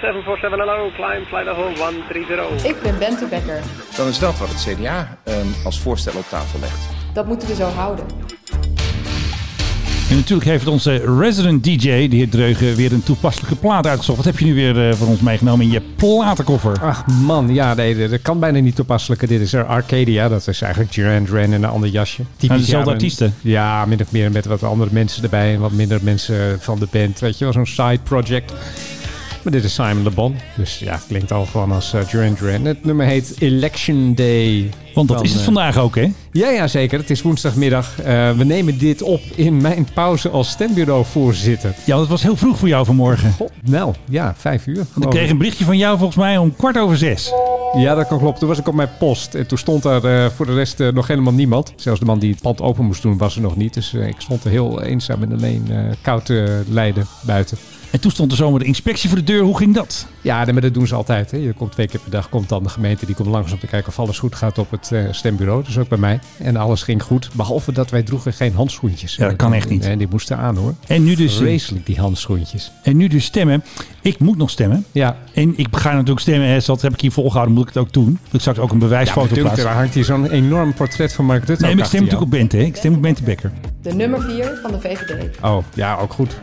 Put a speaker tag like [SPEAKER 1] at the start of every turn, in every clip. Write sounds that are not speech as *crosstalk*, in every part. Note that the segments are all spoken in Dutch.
[SPEAKER 1] 747 hello, climb flight level 130.
[SPEAKER 2] Ik ben Bente Becker.
[SPEAKER 3] Dan is dat wat het CDA eh, als voorstel op tafel legt.
[SPEAKER 2] Dat moeten we zo houden.
[SPEAKER 4] En natuurlijk heeft onze resident DJ, de heer Dreugen, weer een toepasselijke plaat uitgezocht. Wat heb je nu weer eh, voor ons meegenomen in je platenkoffer?
[SPEAKER 5] Ach man, ja, nee, dat kan bijna niet toepasselijker. Dit is er Arcadia, dat is eigenlijk Duran Duran in een ander jasje. Typisch,
[SPEAKER 4] Ah, dezelfde
[SPEAKER 5] ja,
[SPEAKER 4] artiesten.
[SPEAKER 5] Ja, min of meer met wat andere mensen erbij en wat minder mensen van de band. Weet je wel, zo'n side project. Maar dit is Simon Le Bon, dus ja, het klinkt al gewoon als eh, Duran Duran. Het nummer heet Election Day.
[SPEAKER 4] Want dat
[SPEAKER 5] van,
[SPEAKER 4] is het
[SPEAKER 5] eh,
[SPEAKER 4] vandaag ook, hè?
[SPEAKER 5] Ja, ja, zeker. Het is woensdagmiddag. Eh, we nemen dit op in mijn pauze als stembureauvoorzitter.
[SPEAKER 4] Ja, dat was heel vroeg voor jou vanmorgen.
[SPEAKER 5] God, nou, ja, vijf uur.
[SPEAKER 4] Ik
[SPEAKER 5] geloof
[SPEAKER 4] kreeg een berichtje van jou volgens mij om kwart over zes.
[SPEAKER 5] Ja, dat kan kloppen. Toen was ik op mijn post en toen stond daar eh, voor de rest eh, nog helemaal niemand. Zelfs de man die het pand open moest doen was er nog niet. Dus eh, ik stond er heel eenzaam en alleen eh, koud te lijden buiten.
[SPEAKER 4] En toen stond er zomaar de inspectie voor de deur. Hoe ging dat?
[SPEAKER 5] Ja, nee, maar dat doen ze altijd. Hè. Je komt twee keer per dag, komt dan de gemeente. Die komt langs om te kijken of alles goed gaat op het eh, stembureau. Dus ook bij mij. En alles ging goed. Behalve dat wij droegen geen handschoentjes.
[SPEAKER 4] Ja, dat kan echt niet.
[SPEAKER 5] En die moesten aan hoor.
[SPEAKER 4] En nu dus,
[SPEAKER 5] Vreselijk die handschoentjes.
[SPEAKER 4] en nu dus stemmen. Ik moet nog stemmen.
[SPEAKER 5] Ja.
[SPEAKER 4] En ik ga natuurlijk stemmen. Hè, dat heb ik hier volgehouden. Moet ik het ook doen. Ik straks ook een
[SPEAKER 5] Ja, maar
[SPEAKER 4] bewijsfoto
[SPEAKER 5] natuurlijk,
[SPEAKER 4] plaatsen.
[SPEAKER 5] daar hangt hier zo'n enorm portret van Mark Rutte.
[SPEAKER 4] Nee,
[SPEAKER 5] ook
[SPEAKER 4] maar ik stem
[SPEAKER 5] achter jou.
[SPEAKER 4] natuurlijk op Bente. Hè. Ik stem op Bente Becker.
[SPEAKER 2] De nummer 4 van de VVD.
[SPEAKER 5] Oh, ja, ook goed.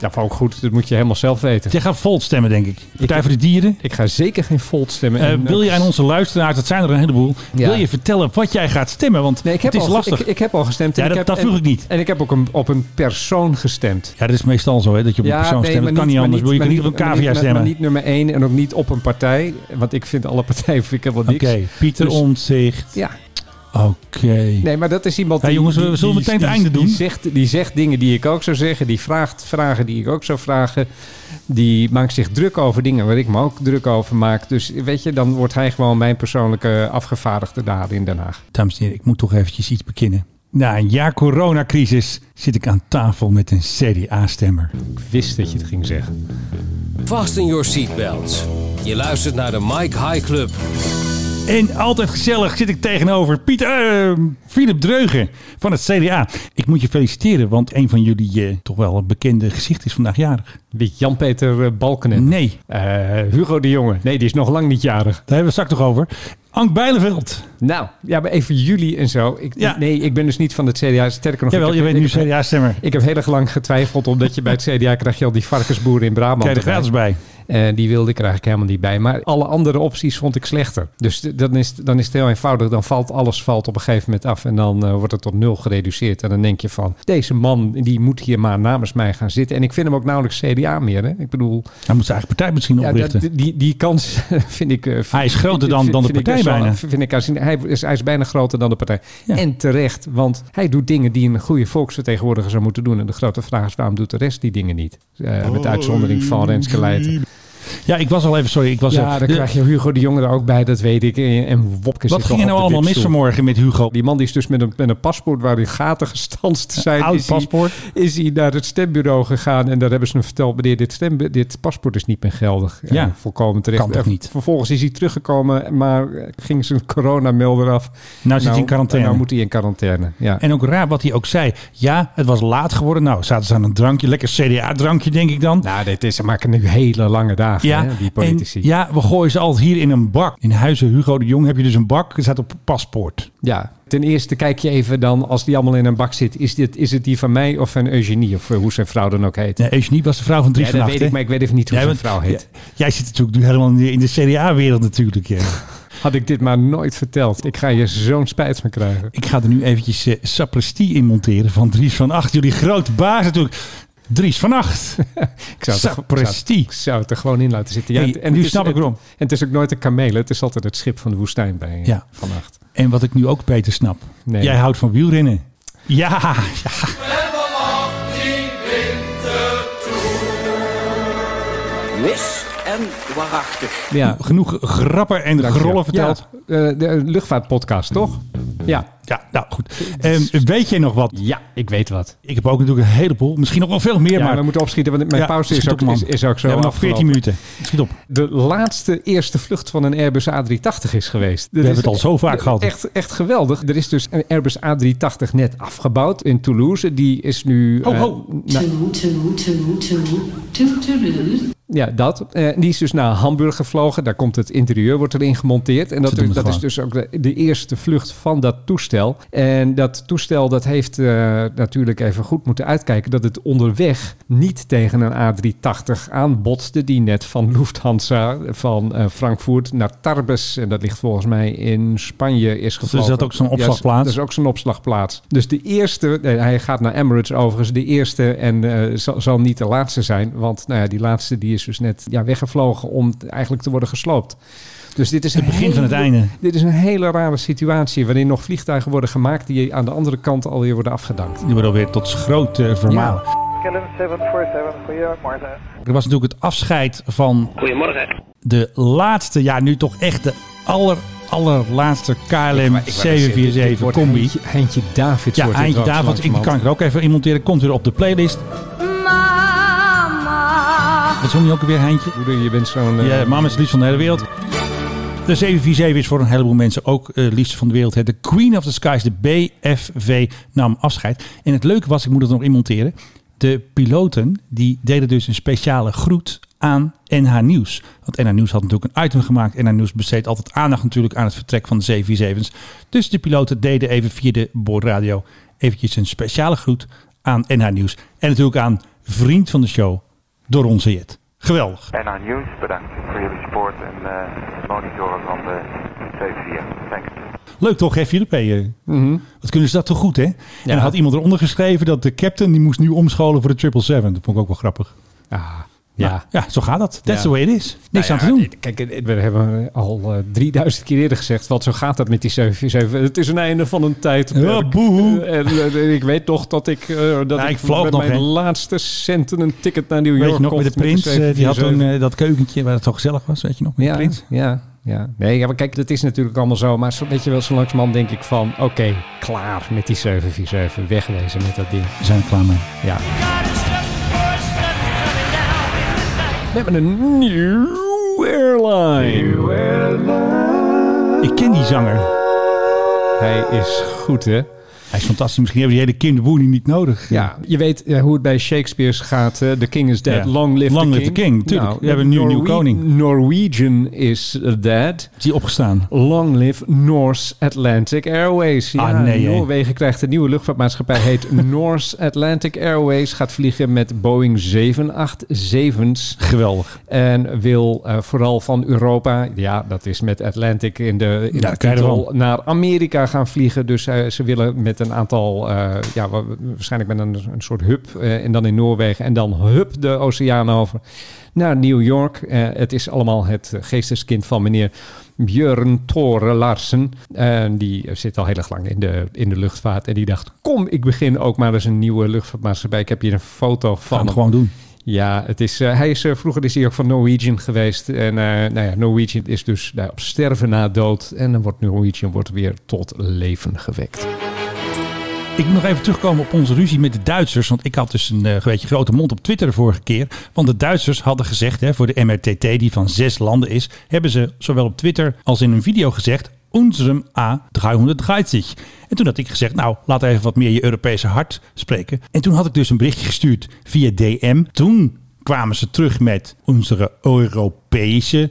[SPEAKER 5] Ja, ook goed. Dat moet je helemaal zelf weten.
[SPEAKER 4] Jij gaat Volt stemmen, denk ik. Partij
[SPEAKER 5] Ik-
[SPEAKER 4] voor de Dieren.
[SPEAKER 5] Ik ga zeker geen Volt stemmen.
[SPEAKER 4] Eh,
[SPEAKER 5] En,
[SPEAKER 4] wil
[SPEAKER 5] eh,
[SPEAKER 4] je aan onze luisteraars, dat zijn er een heleboel,
[SPEAKER 5] Ja.
[SPEAKER 4] wil je vertellen wat jij gaat stemmen? Want
[SPEAKER 5] Nee, ik heb,
[SPEAKER 4] het is
[SPEAKER 5] al,
[SPEAKER 4] lastig.
[SPEAKER 5] Ik, ik heb al gestemd. en
[SPEAKER 4] Ja, dat-
[SPEAKER 5] heb,
[SPEAKER 4] dat vroeg
[SPEAKER 5] en-
[SPEAKER 4] ik niet.
[SPEAKER 5] En ik heb ook een, op een persoon gestemd.
[SPEAKER 4] ja, dat is meestal zo, hè, dat je op een persoon
[SPEAKER 5] nee,
[SPEAKER 4] stemt.
[SPEAKER 5] maar
[SPEAKER 4] Dat kan niet
[SPEAKER 5] maar
[SPEAKER 4] anders. Wil je
[SPEAKER 5] maar
[SPEAKER 4] niet op een
[SPEAKER 5] maar
[SPEAKER 4] cavia
[SPEAKER 5] maar-
[SPEAKER 4] stemmen?
[SPEAKER 5] Maar
[SPEAKER 4] Oké,
[SPEAKER 5] niet nummer één en ook niet op een partij. Want ik vind alle partijen vind ik helemaal niks.
[SPEAKER 4] Pieter
[SPEAKER 5] Dus-
[SPEAKER 4] Omtzigt.
[SPEAKER 5] Ja,
[SPEAKER 4] Oké.
[SPEAKER 5] nee, maar dat is iemand
[SPEAKER 4] Ja,
[SPEAKER 5] die...
[SPEAKER 4] jongens, we
[SPEAKER 5] die-
[SPEAKER 4] zullen
[SPEAKER 5] die-
[SPEAKER 4] meteen het
[SPEAKER 5] die-
[SPEAKER 4] einde doen.
[SPEAKER 5] Die zegt, die zegt dingen die ik ook zou zeggen. Die vraagt vragen die ik ook zou vragen. Die maakt zich druk over dingen waar ik me ook druk over maak. Dus weet je, dan wordt hij gewoon mijn persoonlijke afgevaardigde daar in Den Haag.
[SPEAKER 4] Dames en heren, ik moet toch eventjes iets bekennen. Na een jaar coronacrisis zit ik aan tafel met een CDA-stemmer.
[SPEAKER 5] Ik wist dat je het ging zeggen.
[SPEAKER 6] Fasten your seatbelts. Je luistert naar de Mike High Club.
[SPEAKER 4] En altijd gezellig zit ik tegenover Pieter, eh, Philip Dreugen van het CDA. Ik moet je feliciteren, want een van jullie eh, toch wel een bekende gezicht is vandaag jarig.
[SPEAKER 5] Wie Jan-Peter eh, Balkenende.
[SPEAKER 4] Nee,
[SPEAKER 5] Eh, Hugo de Jonge. Nee, die is nog lang niet jarig.
[SPEAKER 4] Daar hebben we het straks nog over. Ank Bijleveld.
[SPEAKER 5] Nou, ja, maar even jullie en zo. Ik,
[SPEAKER 4] Ja.
[SPEAKER 5] Nee, ik ben dus niet van het CDA. Sterker nog,
[SPEAKER 4] Jawel,
[SPEAKER 5] ik
[SPEAKER 4] je
[SPEAKER 5] heb-
[SPEAKER 4] bent nu
[SPEAKER 5] ik heb-
[SPEAKER 4] CDA-stemmer.
[SPEAKER 5] Ik heb heel erg lang getwijfeld, omdat je bij het CDA *laughs* krijg je al die varkensboeren in Brabant.
[SPEAKER 4] Krijg je er
[SPEAKER 5] erbij.
[SPEAKER 4] gratis bij.
[SPEAKER 5] En die wilde ik er eigenlijk helemaal niet bij. Maar alle andere opties vond ik slechter. Dus d- dan is, dan is het heel eenvoudig. Dan valt alles valt op een gegeven moment af. En dan eh, wordt het tot nul gereduceerd. En dan denk je van, deze man die moet hier maar namens mij gaan zitten. En ik vind hem ook nauwelijks CDA meer. Hè? Ik bedoel,
[SPEAKER 4] Hij moet zijn eigen partij misschien
[SPEAKER 5] Ja,
[SPEAKER 4] oprichten.
[SPEAKER 5] dat- die, die kans *laughs* vind ik... eh, vind-
[SPEAKER 4] Hij is groter dan-
[SPEAKER 5] vind-
[SPEAKER 4] dan de
[SPEAKER 5] vind ik
[SPEAKER 4] partij
[SPEAKER 5] best wel-
[SPEAKER 4] bijna.
[SPEAKER 5] Vind ik, aanzien- hij, is, hij is bijna groter dan de partij.
[SPEAKER 4] Ja.
[SPEAKER 5] En terecht, want hij doet dingen die een goede volksvertegenwoordiger zou moeten doen. En de grote vraag is, waarom doet de rest die dingen niet? Eh, met uitzondering van Renske Leijten.
[SPEAKER 4] Ja, ik was al even, sorry. Ik was
[SPEAKER 5] Ja,
[SPEAKER 4] er-
[SPEAKER 5] dan
[SPEAKER 4] de-
[SPEAKER 5] krijg je Hugo de Jonge er ook bij, dat weet ik. En, en Wopke zit
[SPEAKER 4] Wat
[SPEAKER 5] nog
[SPEAKER 4] ging er nou
[SPEAKER 5] op de
[SPEAKER 4] allemaal mis
[SPEAKER 5] wipstoel.
[SPEAKER 4] vanmorgen met Hugo?
[SPEAKER 5] Die man die is dus met een, met een paspoort waar die gaten gestanst zijn.
[SPEAKER 4] Oud
[SPEAKER 5] is hij-
[SPEAKER 4] paspoort.
[SPEAKER 5] is hij naar het stembureau gegaan en daar hebben ze hem verteld, meneer, dit, stem, dit paspoort is niet meer geldig.
[SPEAKER 4] Ja.
[SPEAKER 5] Eh, volkomen terecht.
[SPEAKER 4] Kan toch
[SPEAKER 5] Eh,
[SPEAKER 4] niet?
[SPEAKER 5] Vervolgens is hij teruggekomen, maar eh, ging zijn coronamelder af.
[SPEAKER 4] Nou zit hij in quarantaine.
[SPEAKER 5] Nou moet hij in quarantaine, ja.
[SPEAKER 4] En ook raar wat hij ook zei. Ja, het was laat geworden. Nou, zaten ze aan een drankje. Lekker CDA-drankje, denk ik dan.
[SPEAKER 5] nou, dit is, ze maken nu hele lange dagen,
[SPEAKER 4] Ja,
[SPEAKER 5] hè, die
[SPEAKER 4] en,
[SPEAKER 5] politici. ja.
[SPEAKER 4] ja, we gooien ze altijd hier in een bak. In huizen Hugo de Jong heb je dus een bak. Er staat op paspoort.
[SPEAKER 5] ten eerste kijk je even dan, als die allemaal in een bak zit, is, dit, is het die van mij of van Eugenie, of eh, hoe zijn vrouw dan ook heet?
[SPEAKER 4] Nee, Eugenie was de vrouw van drie
[SPEAKER 5] Ja, dat
[SPEAKER 4] vannacht,
[SPEAKER 5] weet ik,
[SPEAKER 4] hè?
[SPEAKER 5] maar ik weet even niet hoe
[SPEAKER 4] Ja,
[SPEAKER 5] zijn
[SPEAKER 4] want-
[SPEAKER 5] vrouw heet.
[SPEAKER 4] ja, jij zit natuurlijk nu helemaal in de CDA-wereld natuurlijk. Ja.
[SPEAKER 5] Had ik dit maar nooit verteld. Ik ga hier zo'n spijt van krijgen.
[SPEAKER 4] Ik ga er nu eventjes eh, sapristie in monteren van Dries van Acht. Jullie grote baas natuurlijk. Dries van
[SPEAKER 5] *laughs*
[SPEAKER 4] Acht.
[SPEAKER 5] Ik zou, het, er- ik zou, het-
[SPEAKER 4] Sapristi.
[SPEAKER 5] ik zou het er gewoon in laten zitten. Ja,
[SPEAKER 4] Hey,
[SPEAKER 5] het-
[SPEAKER 4] nu
[SPEAKER 5] het is-
[SPEAKER 4] snap ik
[SPEAKER 5] het-
[SPEAKER 4] waarom.
[SPEAKER 5] En het is ook nooit een kameel. Het is altijd het schip van de woestijn bij
[SPEAKER 4] Ja.
[SPEAKER 5] ja. vannacht.
[SPEAKER 4] En wat ik nu ook beter snap.
[SPEAKER 5] Nee.
[SPEAKER 4] Jij houdt van wielrennen. Ja, ja.
[SPEAKER 7] Mis en waarachtig.
[SPEAKER 5] Ja.
[SPEAKER 4] genoeg grappen en grollen verteld. Ja.
[SPEAKER 5] Ja, eh, de luchtvaartpodcast, toch? Ja.
[SPEAKER 4] nou goed. Ehm, weet jij nog wat?
[SPEAKER 5] Ja, ik weet wat.
[SPEAKER 4] Ik heb ook natuurlijk een heleboel. Misschien nog wel veel meer.
[SPEAKER 5] Ja, maar
[SPEAKER 4] maar
[SPEAKER 5] we moeten opschieten, want mijn
[SPEAKER 4] Ja,
[SPEAKER 5] pauze is
[SPEAKER 4] schiet
[SPEAKER 5] ook,
[SPEAKER 4] op, man.
[SPEAKER 5] is, is ook zo
[SPEAKER 4] we hebben nog 14
[SPEAKER 5] afgelopen.
[SPEAKER 4] minuten. Schiet op.
[SPEAKER 5] De laatste eerste vlucht van een Airbus A380 is geweest.
[SPEAKER 4] We hebben het al zo vaak gehad.
[SPEAKER 5] Echt, echt geweldig. Er is dus een Airbus A380 net afgebouwd in eh,
[SPEAKER 4] Oh,
[SPEAKER 5] Toulouse. Die is nu...
[SPEAKER 4] Ho,
[SPEAKER 5] eh,
[SPEAKER 4] ho.
[SPEAKER 5] na- Ja, dat. Eh, die is dus naar Hamburg gevlogen. Daar komt het interieur, wordt erin gemonteerd. En dat,
[SPEAKER 4] doen het
[SPEAKER 5] dat is
[SPEAKER 4] gewoon.
[SPEAKER 5] dus ook de, de eerste vlucht van dat toestel. En dat toestel dat heeft eh, natuurlijk even goed moeten uitkijken... dat het onderweg niet tegen een A380 aanbotste... die net van Lufthansa van eh, Frankfurt naar Tarbes... en dat ligt volgens mij in Spanje, is gevlogen.
[SPEAKER 4] dat Dus ook zo'n
[SPEAKER 5] Ja, is-
[SPEAKER 4] opslagplaats?
[SPEAKER 5] dat is ook zo'n opslagplaats. Dus de eerste, eh, hij gaat naar Emirates overigens, de eerste en eh, zal, zal niet de laatste zijn. Want nou ja, die laatste die is dus net ja, weggevlogen om t- eigenlijk te worden gesloopt. Dus dit is
[SPEAKER 4] Het
[SPEAKER 5] een
[SPEAKER 4] begin van het
[SPEAKER 5] hele-
[SPEAKER 4] einde.
[SPEAKER 5] Dit is een hele rare situatie waarin nog vliegtuigen worden gemaakt die aan de andere kant alweer worden afgedankt.
[SPEAKER 4] Die worden alweer tot groot eh, vermalen.
[SPEAKER 8] Kellen 747, goedemorgen.
[SPEAKER 4] Er was natuurlijk het afscheid van
[SPEAKER 1] Goedemorgen.
[SPEAKER 4] de laatste, ja nu toch echt de aller, allerlaatste KLM
[SPEAKER 3] wou net zeggen,
[SPEAKER 5] Dit
[SPEAKER 4] 747
[SPEAKER 5] wordt
[SPEAKER 4] combi.
[SPEAKER 5] Heintje, Heintje Davids
[SPEAKER 4] Ja,
[SPEAKER 5] wordt dit
[SPEAKER 4] eindje
[SPEAKER 5] wel
[SPEAKER 4] daar, want ik kan
[SPEAKER 5] langzamerhand.
[SPEAKER 4] ik er ook even in monteren. Komt weer op de playlist. Wat zong je ook weer, Heintje?
[SPEAKER 5] Moeder, je bent zo'n... eh,
[SPEAKER 4] Ja, mama is het liefst van de hele wereld. De 747 is voor een heleboel mensen ook eh liefst van de wereld. hè. De Queen of the Skies, de BFV, nam afscheid. En het leuke was, ik moet het nog inmonteren. De piloten die deden dus een speciale groet aan NH Nieuws. Want NH Nieuws had natuurlijk een item gemaakt. NH Nieuws besteedt altijd aandacht natuurlijk aan het vertrek van de 747's. Dus de piloten deden even via de boordradio eventjes een speciale groet aan NH Nieuws. En natuurlijk aan vriend van de show, Doron Zayed. Geweldig.
[SPEAKER 9] En aan News bedankt voor jullie support en eh, het monitoren van de 7-4. Thanks.
[SPEAKER 4] Leuk toch, hè, Philippe? Eh,
[SPEAKER 5] Mhm.
[SPEAKER 4] Wat kunnen ze dat toch goed, hè? En dan had iemand eronder geschreven dat de captain... die moest nu omscholen voor de 777. Dat vond ik ook wel grappig.
[SPEAKER 5] ah,
[SPEAKER 4] Ja,
[SPEAKER 5] ja.
[SPEAKER 4] ja zo gaat dat. That's
[SPEAKER 5] Ja.
[SPEAKER 4] the way it is. Niks
[SPEAKER 5] Nou
[SPEAKER 4] aan te
[SPEAKER 5] ja,
[SPEAKER 4] doen.
[SPEAKER 5] dit- Kijk, dit- we hebben al eh, 3000 keer eerder gezegd, want zo gaat dat met die 747. Het is een einde van een tijd.
[SPEAKER 4] Ja, boehoe.
[SPEAKER 5] En, eh, ik weet toch dat ik, eh, dat
[SPEAKER 4] Ja,
[SPEAKER 5] ik,
[SPEAKER 4] ik vloog
[SPEAKER 5] met
[SPEAKER 4] nog,
[SPEAKER 5] mijn
[SPEAKER 4] hè.
[SPEAKER 5] laatste centen een ticket naar New York
[SPEAKER 4] Weet je nog,
[SPEAKER 5] kocht
[SPEAKER 4] met de prins, eh, die had toen
[SPEAKER 5] 747.
[SPEAKER 4] eh, dat keukentje waar het zo gezellig was. Weet je nog, met de
[SPEAKER 5] ja,
[SPEAKER 4] prins?
[SPEAKER 5] Ja, ja. Nee, ja, maar kijk, dat is natuurlijk allemaal zo. Maar zo, weet je wel, zo langzamerhand denk ik van... Oké, klaar met die 747. Wegwezen met dat ding.
[SPEAKER 4] We zijn er klaar mee.
[SPEAKER 5] Ja. We hebben een nieuw airline.
[SPEAKER 4] Ik ken die zanger.
[SPEAKER 5] Hij is goed, hè?
[SPEAKER 4] Hij is fantastisch. Misschien hebben we die hele Kim de Boer niet nodig.
[SPEAKER 5] Ja, je weet eh, hoe het bij Shakespeare's gaat. hè? The King is dead.
[SPEAKER 4] Ja.
[SPEAKER 5] Long live
[SPEAKER 4] Long
[SPEAKER 5] the
[SPEAKER 4] live
[SPEAKER 5] King. Nou,
[SPEAKER 4] the king, tuurlijk. We hebben nu een nieuwe koning.
[SPEAKER 5] Norwegian is eh, dead.
[SPEAKER 4] Is die opgestaan?
[SPEAKER 5] Long live North Atlantic Airways. Ja,
[SPEAKER 4] Ah, nee, hè.
[SPEAKER 5] Noorwegen krijgt een nieuwe luchtvaartmaatschappij. Heet *laughs* North Atlantic Airways. Gaat vliegen met Boeing 787's.
[SPEAKER 4] Geweldig.
[SPEAKER 5] En wil eh, vooral van Europa, ja, dat is met Atlantic in de, in
[SPEAKER 4] Ja,
[SPEAKER 5] de
[SPEAKER 4] krijg je
[SPEAKER 5] titel,
[SPEAKER 4] ervan.
[SPEAKER 5] naar Amerika gaan vliegen. Dus eh, ze willen met een aantal, eh, ja, wa- waarschijnlijk met een, een soort hub eh, en dan in Noorwegen en dan hub de oceaan over naar New York. Eh, het is allemaal het eh, geesteskind van meneer Björn Tore Larsen. En die eh, zit al heel erg lang in de, in de luchtvaart. En die dacht, kom, ik begin ook maar eens een nieuwe luchtvaartmaatschappij. Ik heb hier een foto
[SPEAKER 4] Gaan
[SPEAKER 5] van
[SPEAKER 4] het
[SPEAKER 5] hem.
[SPEAKER 4] gewoon doen.
[SPEAKER 5] Ja, het is, eh, hij is, eh, vroeger is hij ook van Norwegian geweest. En eh, nou ja, Norwegian is dus nou, op sterven na dood. En dan wordt Norwegian wordt weer tot leven gewekt.
[SPEAKER 4] Ik moet nog even terugkomen op onze ruzie met de Duitsers. Want ik had dus een eh, een beetje grote mond op Twitter de vorige keer. Want de Duitsers hadden gezegd, hè, voor de MRTT die van zes landen is... hebben ze zowel op Twitter als in een video gezegd... Unserem A330. En toen had ik gezegd, nou, laat even wat meer je Europese hart spreken. En toen had ik dus een berichtje gestuurd via DM. Toen kwamen ze terug met onze Europese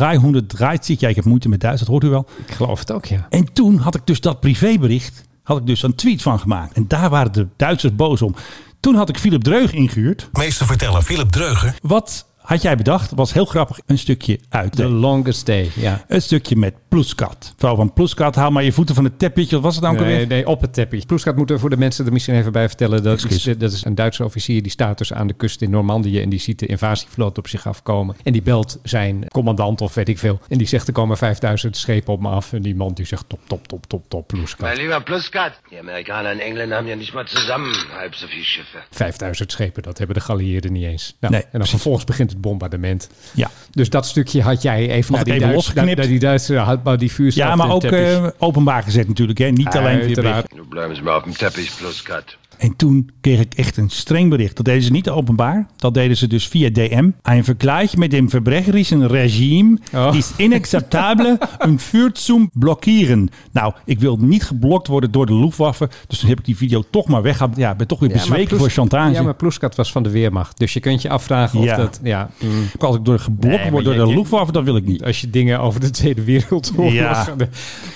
[SPEAKER 4] A330. Ja, ik heb moeite met Duits, dat hoort u wel.
[SPEAKER 5] Ik geloof het ook, ja.
[SPEAKER 4] En toen had ik dus dat privébericht, had ik dus een tweet van gemaakt. En daar waren de Duitsers boos om. Toen had ik Philip Dreug ingehuurd.
[SPEAKER 6] Meester vertellen, Philip Dreugen.
[SPEAKER 4] Wat had jij bedacht? Was heel grappig. Een stukje uit.
[SPEAKER 5] The
[SPEAKER 4] de-
[SPEAKER 5] longest day, ja.
[SPEAKER 4] Een stukje met Ploeskat. Vrouw van Ploeskat, haal maar je voeten van het teppetje. Wat was het nou ook
[SPEAKER 5] Nee,
[SPEAKER 4] alweer?
[SPEAKER 5] Eh, nee, op het teppetje. Ploeskat moeten we voor de mensen er misschien even bij vertellen. Dat is,
[SPEAKER 4] Excuus.
[SPEAKER 5] dat is een Duitse officier die staat dus aan de kust in Normandië. En die ziet de invasievloot op zich afkomen. En die belt zijn commandant of weet ik veel. En die zegt er komen 5000 schepen op me af. En die man die zegt top, top, top, top, top, Ploeskat.
[SPEAKER 7] lieber Pluskat, die Amerikaner en Engländer haben ja nicht mal zusammen halb so viele Schiffe.
[SPEAKER 5] 5000 schepen, dat hebben de geallieerden niet eens. Nou,
[SPEAKER 4] Nee,
[SPEAKER 5] en dan
[SPEAKER 4] precies.
[SPEAKER 5] vervolgens begint het bombardement.
[SPEAKER 4] Ja.
[SPEAKER 5] Dus dat stukje had jij even naar
[SPEAKER 4] ik
[SPEAKER 5] die,
[SPEAKER 4] even
[SPEAKER 5] Duits, naar,
[SPEAKER 4] losgeknipt.
[SPEAKER 5] naar die Duitse eh, had maar die vuurstof.
[SPEAKER 4] ja, maar
[SPEAKER 5] en
[SPEAKER 4] ook
[SPEAKER 5] teppies.
[SPEAKER 4] eh, openbaar gezet natuurlijk. Hè? Niet alleen via bericht.
[SPEAKER 5] Uiteraard.
[SPEAKER 7] Du bleibst mal auf dem Teppich, Pluskat.
[SPEAKER 4] En toen kreeg ik echt een streng bericht. Dat deden ze niet openbaar. Dat deden ze dus via DM. Een vergleich met een verbrecherischen regime
[SPEAKER 5] Oh.
[SPEAKER 4] is
[SPEAKER 5] *laughs*
[SPEAKER 4] inacceptabel. een vuurt zum blokkeren. Nou, ik wil niet geblokt worden door de Luftwaffe. Dus toen heb ik die video toch maar weggehaald. Ja, ben toch weer bezweken
[SPEAKER 5] maar Plus-
[SPEAKER 4] voor chantage.
[SPEAKER 5] Ja, maar Ploeskat was van de Weermacht. Dus je kunt je afvragen of
[SPEAKER 4] Ja.
[SPEAKER 5] dat... Ja, mm,
[SPEAKER 4] Ook Als ik door geblokt
[SPEAKER 5] Nee,
[SPEAKER 4] word
[SPEAKER 5] maar
[SPEAKER 4] door de
[SPEAKER 5] je- je-
[SPEAKER 4] Luftwaffe, dat wil ik niet.
[SPEAKER 5] als je dingen over de Tweede Wereldoorlog...
[SPEAKER 4] Ja.
[SPEAKER 5] Nou,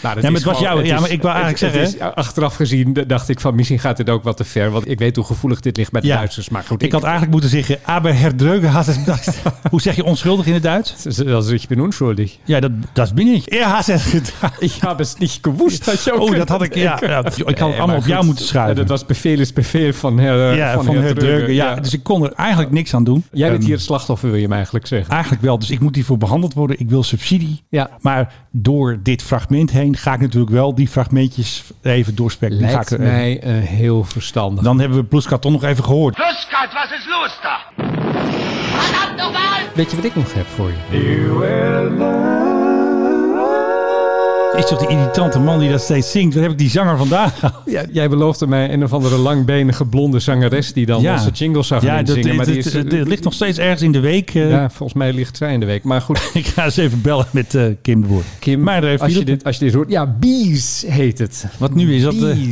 [SPEAKER 5] dat is
[SPEAKER 4] het was
[SPEAKER 5] gewoon-
[SPEAKER 4] jou-
[SPEAKER 5] het
[SPEAKER 4] ja,
[SPEAKER 5] is-
[SPEAKER 4] maar ik wou
[SPEAKER 5] het-
[SPEAKER 4] eigenlijk
[SPEAKER 5] het
[SPEAKER 4] zeggen,
[SPEAKER 5] is- achteraf gezien d- dacht ik van misschien gaat dit ook wat te ver. Want ik weet hoe gevoelig dit ligt bij de
[SPEAKER 4] Ja.
[SPEAKER 5] Duitsers. Maar goed,
[SPEAKER 4] Ik, had eigenlijk moeten zeggen, aber herdreugen had het
[SPEAKER 5] *laughs*
[SPEAKER 4] gedacht. Hoe zeg je onschuldig in het Duits?
[SPEAKER 5] Dat is je bent onschuldig.
[SPEAKER 4] Ja, dat, dat ben ik. Er had het gedaan.
[SPEAKER 5] Ik heb het niet gewoest. Dat je ook
[SPEAKER 4] Oh,
[SPEAKER 5] kunt
[SPEAKER 4] dat had ik. Ja,
[SPEAKER 5] denken.
[SPEAKER 4] ja, ik had het
[SPEAKER 5] Nee,
[SPEAKER 4] allemaal
[SPEAKER 5] maar
[SPEAKER 4] op jou
[SPEAKER 5] goed.
[SPEAKER 4] moeten schuiven.
[SPEAKER 5] Ja, dat was bevel is bevel van her,
[SPEAKER 4] ja, eh, van,
[SPEAKER 5] her
[SPEAKER 4] herdreugen.
[SPEAKER 5] Dreugen,
[SPEAKER 4] Ja. dus ik kon er eigenlijk niks aan doen.
[SPEAKER 5] Jij bent
[SPEAKER 4] Ehm,
[SPEAKER 5] hier het slachtoffer, wil je me eigenlijk zeggen.
[SPEAKER 4] Eigenlijk wel, dus ik moet hiervoor behandeld worden. Ik wil subsidie.
[SPEAKER 5] Ja.
[SPEAKER 4] Maar door dit fragment heen ga ik natuurlijk wel die fragmentjes even doorspekken. Die ga
[SPEAKER 5] Lijkt
[SPEAKER 4] ik er-
[SPEAKER 5] mij eh, heel verstandig.
[SPEAKER 4] Dan hebben we Pluskarton nog even gehoord.
[SPEAKER 7] Flusskat, was ist los da?
[SPEAKER 5] Weet je wat ik nog heb voor je?
[SPEAKER 4] Is toch die irritante man die dat steeds zingt? Waar heb ik die zanger vandaag gehaald?
[SPEAKER 5] Ja, jij beloofde mij een of andere langbenige blonde zangeres die dan onze jingles zou gaan
[SPEAKER 4] ja, dat,
[SPEAKER 5] zingen. maar die is, eh,
[SPEAKER 4] dat- dat- dat ligt nog steeds ergens in de week. eh.
[SPEAKER 5] ja, volgens mij ligt zij in de week. Maar
[SPEAKER 4] *laughs*
[SPEAKER 5] goed,
[SPEAKER 4] Ik ga eens even bellen met eh, Kim de Boer.
[SPEAKER 5] Kim,
[SPEAKER 4] maar eh,
[SPEAKER 5] als, je
[SPEAKER 4] Philip,
[SPEAKER 5] dit, als je dit hoort... Ja, Bees heet het.
[SPEAKER 4] Wat nu is dat, eh,
[SPEAKER 5] Bees.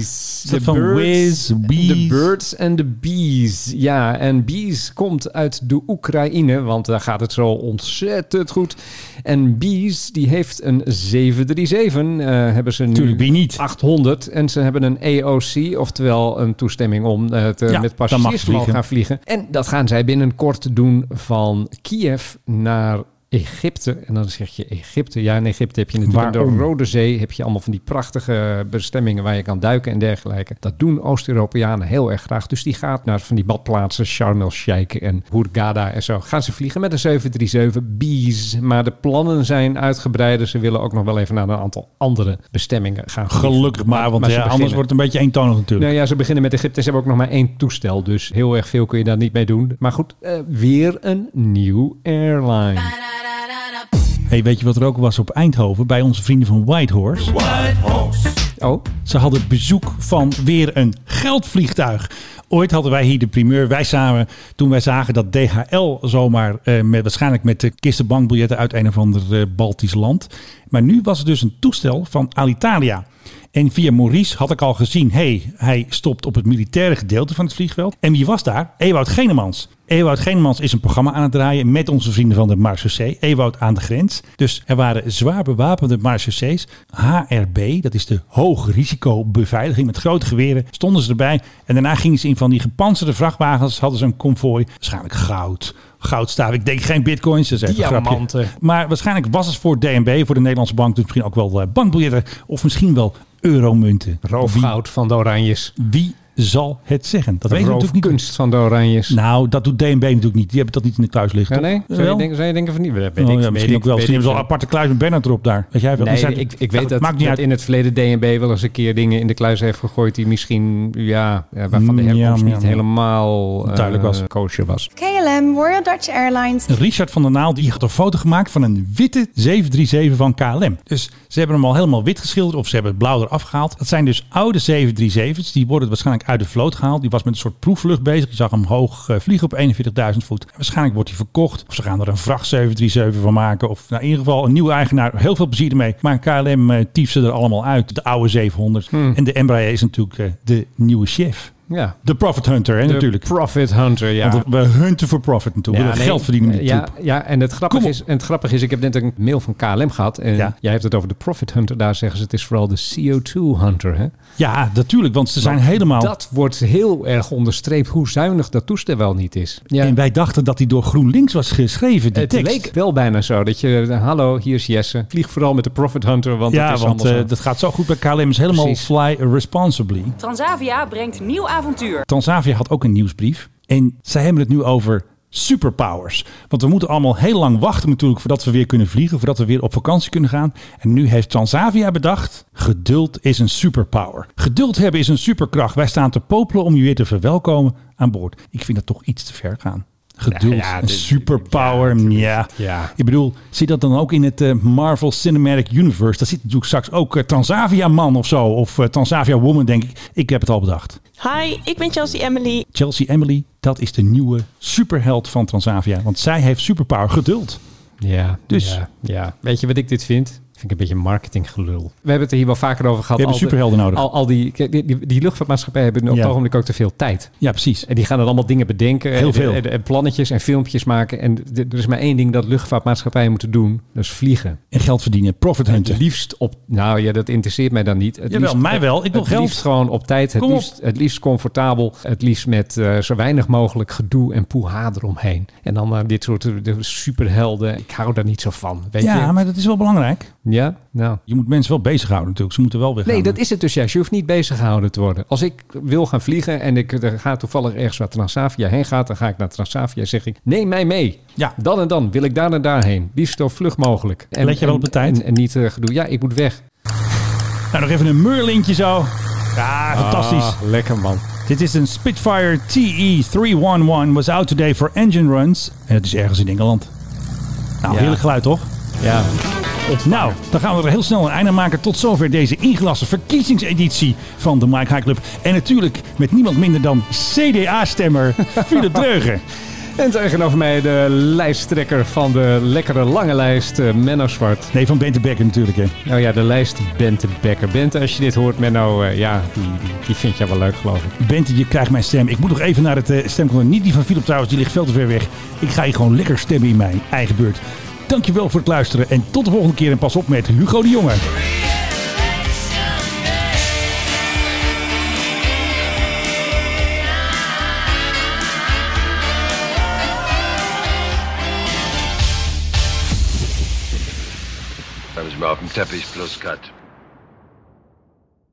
[SPEAKER 4] is dat van Wiz, Bees?
[SPEAKER 5] The Birds and the Bees. Ja, en Bees komt uit de Oekraïne, want daar gaat het zo ontzettend goed. En Bees, die heeft een 737, eh, hebben ze nu...
[SPEAKER 4] Tuurlijk, wie niet?
[SPEAKER 5] 800 en ze hebben een AOC, oftewel een toestemming om eh, te,
[SPEAKER 4] Ja, dan
[SPEAKER 5] met
[SPEAKER 4] mag
[SPEAKER 5] passagiers te
[SPEAKER 4] vliegen.
[SPEAKER 5] gaan vliegen. En dat gaan zij binnenkort doen van Kiev naar Egypte. En dan zeg je Egypte. Ja, in Egypte heb je natuurlijk aan
[SPEAKER 4] Waarom?
[SPEAKER 5] de Rode Zee heb je allemaal van die prachtige bestemmingen waar je kan duiken en dergelijke. Dat doen Oost-Europeanen heel erg graag. Dus die gaat naar van die badplaatsen Sharm el Sheikh en Hurghada en zo. Gaan ze vliegen met een 737 B's. Maar de plannen zijn uitgebreider. Ze willen ook nog wel even naar een aantal andere bestemmingen gaan. vliegen.
[SPEAKER 4] Gelukkig maar, want
[SPEAKER 5] Maar ze
[SPEAKER 4] ja, anders
[SPEAKER 5] beginnen.
[SPEAKER 4] wordt het een beetje eentonig natuurlijk.
[SPEAKER 5] Nou ja, ze beginnen met Egypte. Ze hebben ook nog maar één toestel. Dus heel erg veel kun je daar niet mee doen. Maar goed, eh, weer een nieuw airline.
[SPEAKER 4] Hey, weet je wat er ook was op Eindhoven bij onze vrienden van Whitehorse?
[SPEAKER 5] Oh,
[SPEAKER 4] Ze hadden bezoek van weer een geldvliegtuig. Ooit hadden wij hier de primeur, wij samen, toen wij zagen dat DHL zomaar, eh, met, waarschijnlijk met de kisten bankbiljetten uit een of ander eh, Baltisch land. Maar nu was het dus een toestel van Alitalia. En via Maurice had ik al gezien, hey, hij stopt op het militaire gedeelte van het vliegveld. En wie was daar? Ewout Genemans. Ewout Genemans is een programma aan het draaien met onze vrienden van de Marseillais. Ewout aan de grens. Dus er waren zwaar bewapende Marseillais. HRB, dat is de hoogrisicobeveiliging met grote geweren, stonden ze erbij. En daarna gingen ze in van die gepantserde vrachtwagens. Hadden ze een konvooi, waarschijnlijk goud. Goudstaaf. Ik denk geen bitcoins. Dat is even een grapje.
[SPEAKER 5] Diamanten.
[SPEAKER 4] Maar waarschijnlijk was het voor DNB, voor de Nederlandse bank, dus misschien ook wel eh, bankbiljetten. Of misschien wel euromunten.
[SPEAKER 5] roofgoud van de Oranjes.
[SPEAKER 4] Wie zal het zeggen? Dat weet ik natuurlijk niet.
[SPEAKER 5] Roofkunst van de Oranjes.
[SPEAKER 4] Nou, dat doet DNB natuurlijk niet. Die hebben dat niet in de kluis liggen.
[SPEAKER 5] Ja, nee?
[SPEAKER 4] toch?
[SPEAKER 5] Zou je,
[SPEAKER 4] Wel?
[SPEAKER 5] denken, zou je denken van niet? Weet
[SPEAKER 4] Oh,
[SPEAKER 5] ik,
[SPEAKER 4] ja,
[SPEAKER 5] weet
[SPEAKER 4] misschien
[SPEAKER 5] ik,
[SPEAKER 4] ook wel.
[SPEAKER 5] weet
[SPEAKER 4] Misschien hebben
[SPEAKER 5] ik
[SPEAKER 4] ze al een
[SPEAKER 5] veel.
[SPEAKER 4] aparte kluis met Bernard erop daar. Weet jij wel?
[SPEAKER 5] Nee,
[SPEAKER 4] Zijn-
[SPEAKER 5] ik, ik weet dat,
[SPEAKER 4] maakt niet
[SPEAKER 5] dat
[SPEAKER 4] uit.
[SPEAKER 5] in het verleden DNB wel eens een keer dingen in de kluis heeft gegooid die misschien, ja, ja, waarvan de
[SPEAKER 4] Mm, ja,
[SPEAKER 5] herkomst
[SPEAKER 4] ja,
[SPEAKER 5] niet
[SPEAKER 4] ja.
[SPEAKER 5] helemaal eh,
[SPEAKER 4] Duidelijk was.
[SPEAKER 5] kosher was.
[SPEAKER 10] KLM, Royal Dutch Airlines.
[SPEAKER 4] Richard van der Naal die had een foto gemaakt van een witte 737 van KLM. Dus ze hebben hem al helemaal wit geschilderd of ze hebben het blauw eraf gehaald. Dat zijn dus oude 737's. Die worden waarschijnlijk uit de vloot gehaald. Die was met een soort proefvlucht bezig. Je zag hem hoog eh, vliegen op 41.000 voet. En waarschijnlijk wordt hij verkocht. Of ze gaan er een vracht 737 van maken. Of nou, in ieder geval een nieuwe eigenaar. Heel veel plezier ermee. Maar KLM eh tief ze er allemaal uit. De oude 700.
[SPEAKER 5] Hmm.
[SPEAKER 4] En de Embraer is natuurlijk eh, de nieuwe chef.
[SPEAKER 5] Ja,
[SPEAKER 4] De profit hunter hè,
[SPEAKER 5] De
[SPEAKER 4] natuurlijk.
[SPEAKER 5] Profit Hunter, ja.
[SPEAKER 4] Want we hunten voor profit natuurlijk. We willen
[SPEAKER 5] nee,
[SPEAKER 4] geld verdienen met die
[SPEAKER 5] ja,
[SPEAKER 4] troep.
[SPEAKER 5] ja, en het,
[SPEAKER 4] Kom
[SPEAKER 5] grappige
[SPEAKER 4] op.
[SPEAKER 5] is, en het grappige is, ik heb net een mail van KLM gehad. En
[SPEAKER 4] Ja.
[SPEAKER 5] jij hebt het over de Profit Hunter. Daar zeggen ze, het is vooral de CO2 Hunter. Hè?
[SPEAKER 4] Ja, natuurlijk, want ze zijn helemaal.
[SPEAKER 5] Dat wordt heel erg onderstreept hoe zuinig dat toestel wel niet is. Ja.
[SPEAKER 4] En wij dachten dat die door GroenLinks was geschreven, die
[SPEAKER 5] het
[SPEAKER 4] tekst.
[SPEAKER 5] leek wel bijna zo dat je, hallo, hier is Jesse. Vlieg vooral met de Profit Hunter, want
[SPEAKER 4] ja,
[SPEAKER 5] het is
[SPEAKER 4] want
[SPEAKER 5] anders.
[SPEAKER 4] eh, dat gaat zo goed bij KLM. Is helemaal
[SPEAKER 5] Precies.
[SPEAKER 4] fly responsibly.
[SPEAKER 10] Transavia brengt nieuw avontuur.
[SPEAKER 4] Transavia had ook een nieuwsbrief. En zij hebben het nu over superpowers. Want we moeten allemaal heel lang wachten natuurlijk... voordat we weer kunnen vliegen, voordat we weer op vakantie kunnen gaan. En nu heeft Transavia bedacht... geduld is een superpower. Geduld hebben is een superkracht. Wij staan te popelen om je weer te verwelkomen aan boord. Ik vind dat toch iets te ver gaan. geduld,
[SPEAKER 5] Ja, ja,
[SPEAKER 4] en
[SPEAKER 5] dit-
[SPEAKER 4] superpower. Ja,
[SPEAKER 5] ja.
[SPEAKER 4] Ik bedoel, zit dat dan ook in het eh, Marvel Cinematic Universe? Daar zit natuurlijk straks ook eh, Transavia Man of zo. Of eh, Transavia Woman, denk ik. Ik heb het al bedacht.
[SPEAKER 11] Hi, ik ben Chelsea Emily.
[SPEAKER 4] Chelsea Emily, dat is de nieuwe superheld van Transavia. Want zij heeft superpower geduld.
[SPEAKER 5] Ja,
[SPEAKER 4] Dus-
[SPEAKER 5] dus. Ja, ja. Weet je wat ik dit vind? Vind ik een beetje marketinggelul. We hebben het er hier wel vaker over gehad.
[SPEAKER 4] We hebben
[SPEAKER 5] Al de-
[SPEAKER 4] superhelden nodig.
[SPEAKER 5] Al, al die, kijk, die, die, die luchtvaartmaatschappijen hebben op
[SPEAKER 4] Ja.
[SPEAKER 5] het ogenblik ook te veel tijd.
[SPEAKER 4] Ja, precies.
[SPEAKER 5] En die gaan dan allemaal dingen bedenken.
[SPEAKER 4] Heel
[SPEAKER 5] en,
[SPEAKER 4] veel.
[SPEAKER 5] En, en plannetjes en filmpjes maken. En d- er is maar één ding dat luchtvaartmaatschappijen moeten doen. Dat is vliegen.
[SPEAKER 4] En geld verdienen, profit hunten.
[SPEAKER 5] Het liefst op... Nou ja, dat interesseert mij dan niet. Het
[SPEAKER 4] Jawel,
[SPEAKER 5] liefst-
[SPEAKER 4] mij wel. Ik wil
[SPEAKER 5] het
[SPEAKER 4] geld.
[SPEAKER 5] liefst gewoon op tijd. Het
[SPEAKER 4] Kom op.
[SPEAKER 5] liefst, het liefst comfortabel. Het liefst met eh, zo weinig mogelijk gedoe en poeha eromheen. En dan eh, dit soort eh, de superhelden. Ik hou daar niet zo van. Weet je?
[SPEAKER 4] Ja, maar dat is wel belangrijk.
[SPEAKER 5] Ja, nou.
[SPEAKER 4] Je moet mensen wel bezighouden natuurlijk. Ze moeten wel weer
[SPEAKER 5] Nee,
[SPEAKER 4] gaan.
[SPEAKER 5] dat is het dus juist. Je hoeft niet bezig gehouden te worden. Als ik wil gaan vliegen en ik er ga toevallig ergens waar Transavia heen gaat, dan ga ik naar Transavia en zeg ik: neem mij mee.
[SPEAKER 4] Ja.
[SPEAKER 5] Dan en dan wil ik daar en daarheen. Liefst zo vlug mogelijk. En,
[SPEAKER 4] Let je wel op de
[SPEAKER 5] en-
[SPEAKER 4] tijd?
[SPEAKER 5] En, en niet eh, gedoe. Ja, ik moet weg.
[SPEAKER 4] Nou, nog even een Merlintje zo. Ja, fantastisch.
[SPEAKER 5] Ah, lekker man.
[SPEAKER 4] Dit is een Spitfire E TE311. Was out today for engine runs. En het is ergens in Engeland. Nou,
[SPEAKER 5] Ja.
[SPEAKER 4] heerlijk geluid toch?
[SPEAKER 5] Ja.
[SPEAKER 4] Nou, dan gaan we er heel snel een einde aan maken. Tot zover deze ingelaste verkiezingseditie van de Mike High Club. En natuurlijk met niemand minder dan CDA-stemmer Philip Dreugen.
[SPEAKER 5] En tegenover mij de lijsttrekker van de lekkere lange lijst, eh, Menno Zwart.
[SPEAKER 4] Nee, van Bente Becker natuurlijk hè.
[SPEAKER 5] Nou ja, de lijst Bente Becker. Bente, als je dit hoort, Menno, eh, ja, die, die, die vind jij wel leuk, geloof ik.
[SPEAKER 4] Bente, je krijgt mijn stem. Ik moet nog even naar het eh stemcollege. Niet die van Philip trouwens, die ligt veel te ver weg. Ik ga hier gewoon lekker stemmen in mijn eigen beurt. Dankjewel voor het luisteren en tot de volgende keer. En pas op met Hugo de Jonge.
[SPEAKER 7] Bleib ich mal auf dem Teppich plus Cut.